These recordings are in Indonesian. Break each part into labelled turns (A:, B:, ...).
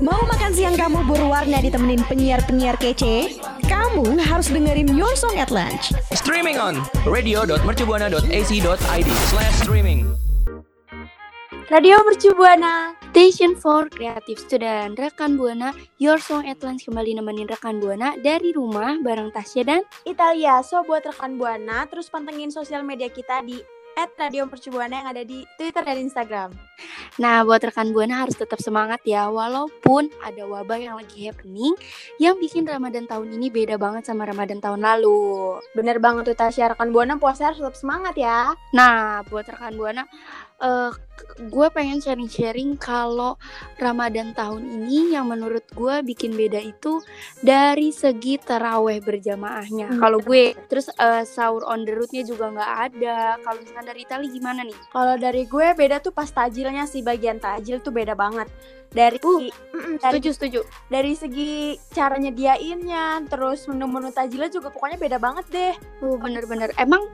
A: Makan siang kamu berwarna ditemenin penyiar-penyiar kece? Kamu harus dengerin Your Song at Lunch.
B: Streaming on radio.mercubuana.ac.id slash streaming.
C: Radio Mercu Buana, station for creative student. Rekan Buana, your song at lunch kembali nemenin rekan Buana dari rumah bareng Tasya dan
D: Italia. So buat rekan Buana, terus pantengin sosial media kita di @radiomercubuana yang ada di Twitter dan Instagram.
C: Nah, buat rekan Buana harus tetap semangat ya walaupun ada wabah yang lagi happening yang bikin Ramadan tahun ini beda banget sama Ramadan tahun lalu.
D: Bener banget tuh Tasya, rekan Buana puasa harus tetap semangat ya.
C: Nah, buat rekan Buana eh, gue pengen sharing-sharing kalau Ramadan tahun ini yang menurut gue bikin beda itu dari segi teraweh berjamaahnya.
D: Hmm.
C: Kalau gue terus eh, sahur on the road-nya juga nggak ada. Kalau misalkan dari Itali gimana nih?
D: Kalau dari gue beda tuh pas tajilnya sih bagian tajil tuh beda banget. Dari
C: Uh,
D: Mm-mm, dari,
C: Setuju, setuju.
D: dari segi cara nyediainnya, terus menu-menu tajilnya juga pokoknya beda banget deh.
C: Uh, bener-bener. Emang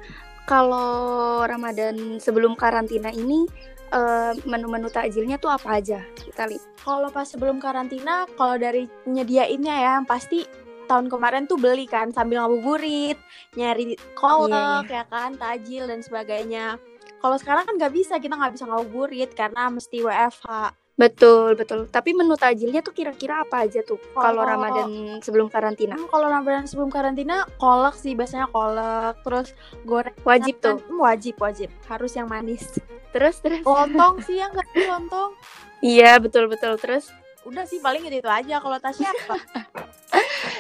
C: kalau Ramadan sebelum karantina ini eh, menu-menu takjilnya tuh apa aja, Itali?
D: Kalau pas sebelum karantina, kalau dari nyediainnya ya yang pasti tahun kemarin tuh beli kan sambil ngabuburit, nyari kolak
C: Iya,
D: ya kan, tajil dan sebagainya. Kalau sekarang kan nggak bisa, kita nggak bisa ngabuburit karena mesti WFH.
C: Betul, betul. Tapi menu takjilnya tuh kira-kira apa aja tuh kalau
D: Kalau-
C: Ramadan sebelum karantina?
D: Hmm, kalau Ramadan sebelum karantina kolak sih biasanya kolak, terus goreng
C: Wajib tuh.
D: Hmm, wajib wajib harus yang manis
C: Terus terus.
D: lontong sih yang nggak sih, lontong
C: Iya betul betul terus
D: udah sih paling itu itu aja kalau tasnya apa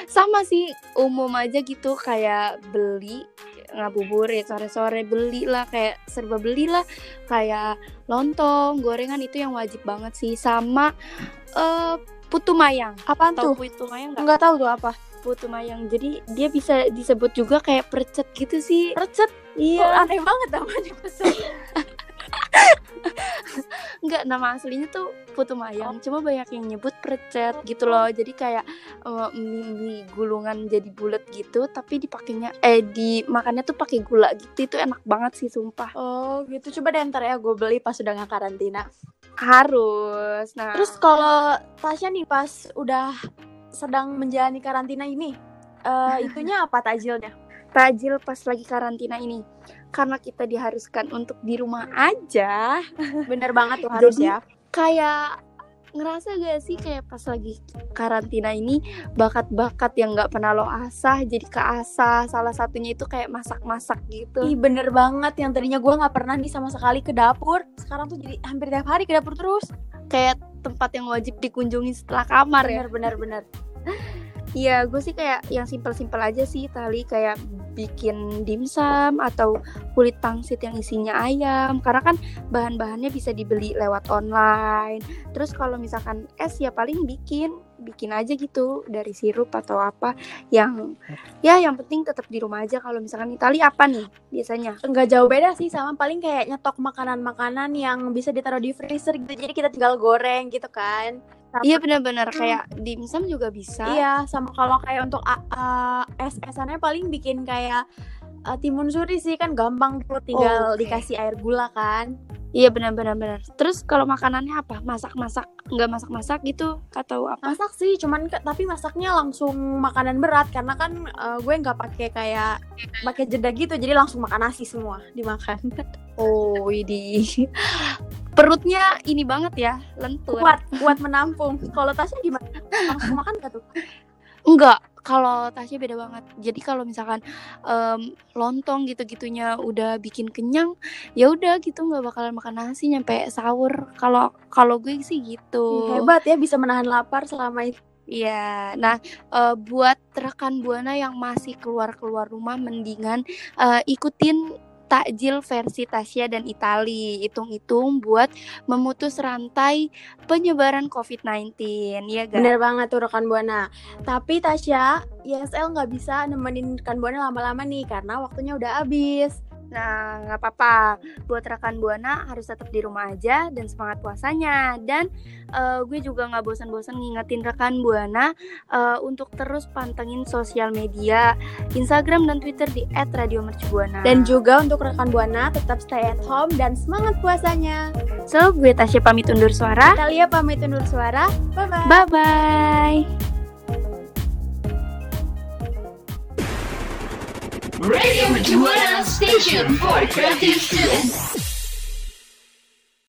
C: sama sih umum aja gitu kayak beli ngabuburit sore-sore belilah kayak serba belilah kayak lontong gorengan itu yang wajib banget sih sama eh, putu mayang
D: apaan tuh
C: tahu putu mayang nggak
D: nggak tahu tuh apa
C: putu mayang jadi dia bisa disebut juga kayak percet gitu sih
D: recet Kok
C: iya
D: aneh banget namanya
C: nggak nama aslinya tuh putu mayang cuma banyak yang nyebut percet gitu loh jadi kayak eh, mie, mie gulungan jadi bulat gitu tapi dipakainya eh di makannya tuh pakai gula gitu itu enak banget sih sumpah
D: oh gitu coba deh ntar ya gue beli pas udah nggak karantina
C: harus nah
D: terus kalau tasnya nih pas udah sedang menjalani karantina ini eh, itunya apa tajilnya
C: tajil pas lagi karantina ini karena kita diharuskan untuk di rumah aja
D: bener banget tuh harus
C: Jadi-
D: ya
C: kayak ngerasa gak sih kayak pas lagi karantina ini bakat-bakat yang nggak pernah lo asah jadi keasah salah satunya itu kayak masak-masak gitu
D: Ih bener banget yang tadinya gue nggak pernah nih sama sekali ke dapur Sekarang tuh jadi hampir tiap hari ke dapur terus
C: kayak tempat yang wajib dikunjungi setelah kamar ya
D: Bener bener bener
C: iya gue sih kayak yang simpel-simpel aja sih tali kayak bikin dimsum atau kulit pangsit yang isinya ayam karena kan bahan-bahannya bisa dibeli lewat online terus kalau misalkan es ya paling bikin bikin aja gitu dari sirup atau apa yang ya yang penting tetap di rumah aja kalau misalkan Itali apa nih biasanya
D: nggak jauh beda sih sama paling kayak nyetok makanan-makanan yang bisa ditaruh di freezer gitu jadi kita tinggal goreng gitu kan Sama-
C: iya benar-benar kayak dimsum juga bisa
D: iya sama kalau kayak untuk a- a- es-esannya paling bikin kayak uh, timun suri sih kan gampang tuh tinggal
C: Oh, oke.
D: dikasih air gula kan
C: Iya benar-benar benar. Terus kalau makanannya apa? Masak-masak, nggak masak-masak gitu atau apa?
D: masak sih cuman ke- tapi masaknya langsung makanan berat karena kan uh, gue nggak pakai kayak pakai jeda gitu jadi langsung makan nasi semua dimakan
C: Oh, ini perutnya ini banget ya, lentur.
D: kuat kuat menampung kalau tasnya gimana langsung makan gak tuh
C: Enggak, kalau Tasya beda banget. Jadi kalau misalkan em, lontong gitu-gitunya udah bikin kenyang, ya udah gitu nggak bakalan makan nasi nyampe sahur. Kalau kalau gue sih gitu.
D: hebat ya bisa menahan lapar selama itu
C: Iya, nah eh, buat rekan buana yang masih keluar keluar rumah, mendingan eh, ikutin takjil versi Tasya dan Itali, hitung-hitung buat memutus rantai penyebaran COVID-19, ya guys.
D: Bener banget tuh rekan Buana. Tapi Tasya, ISL nggak bisa nemenin rekan Buana lama-lama nih karena waktunya udah habis.
C: Nah, nggak apa-apa. Buat rekan Buana harus tetap di rumah aja dan semangat puasanya. Dan eh, gue juga nggak bosan-bosan ngingetin rekan Buana eh, untuk terus pantengin sosial media, Instagram dan Twitter di @radiomercubuana.
D: Dan juga untuk rekan Buana tetap stay at home dan semangat puasanya.
C: so, gue Tasya pamit undur suara.
D: Talia pamit undur suara. Bye bye.
C: Bye bye.
E: Radio Majuana Station for Creative Students.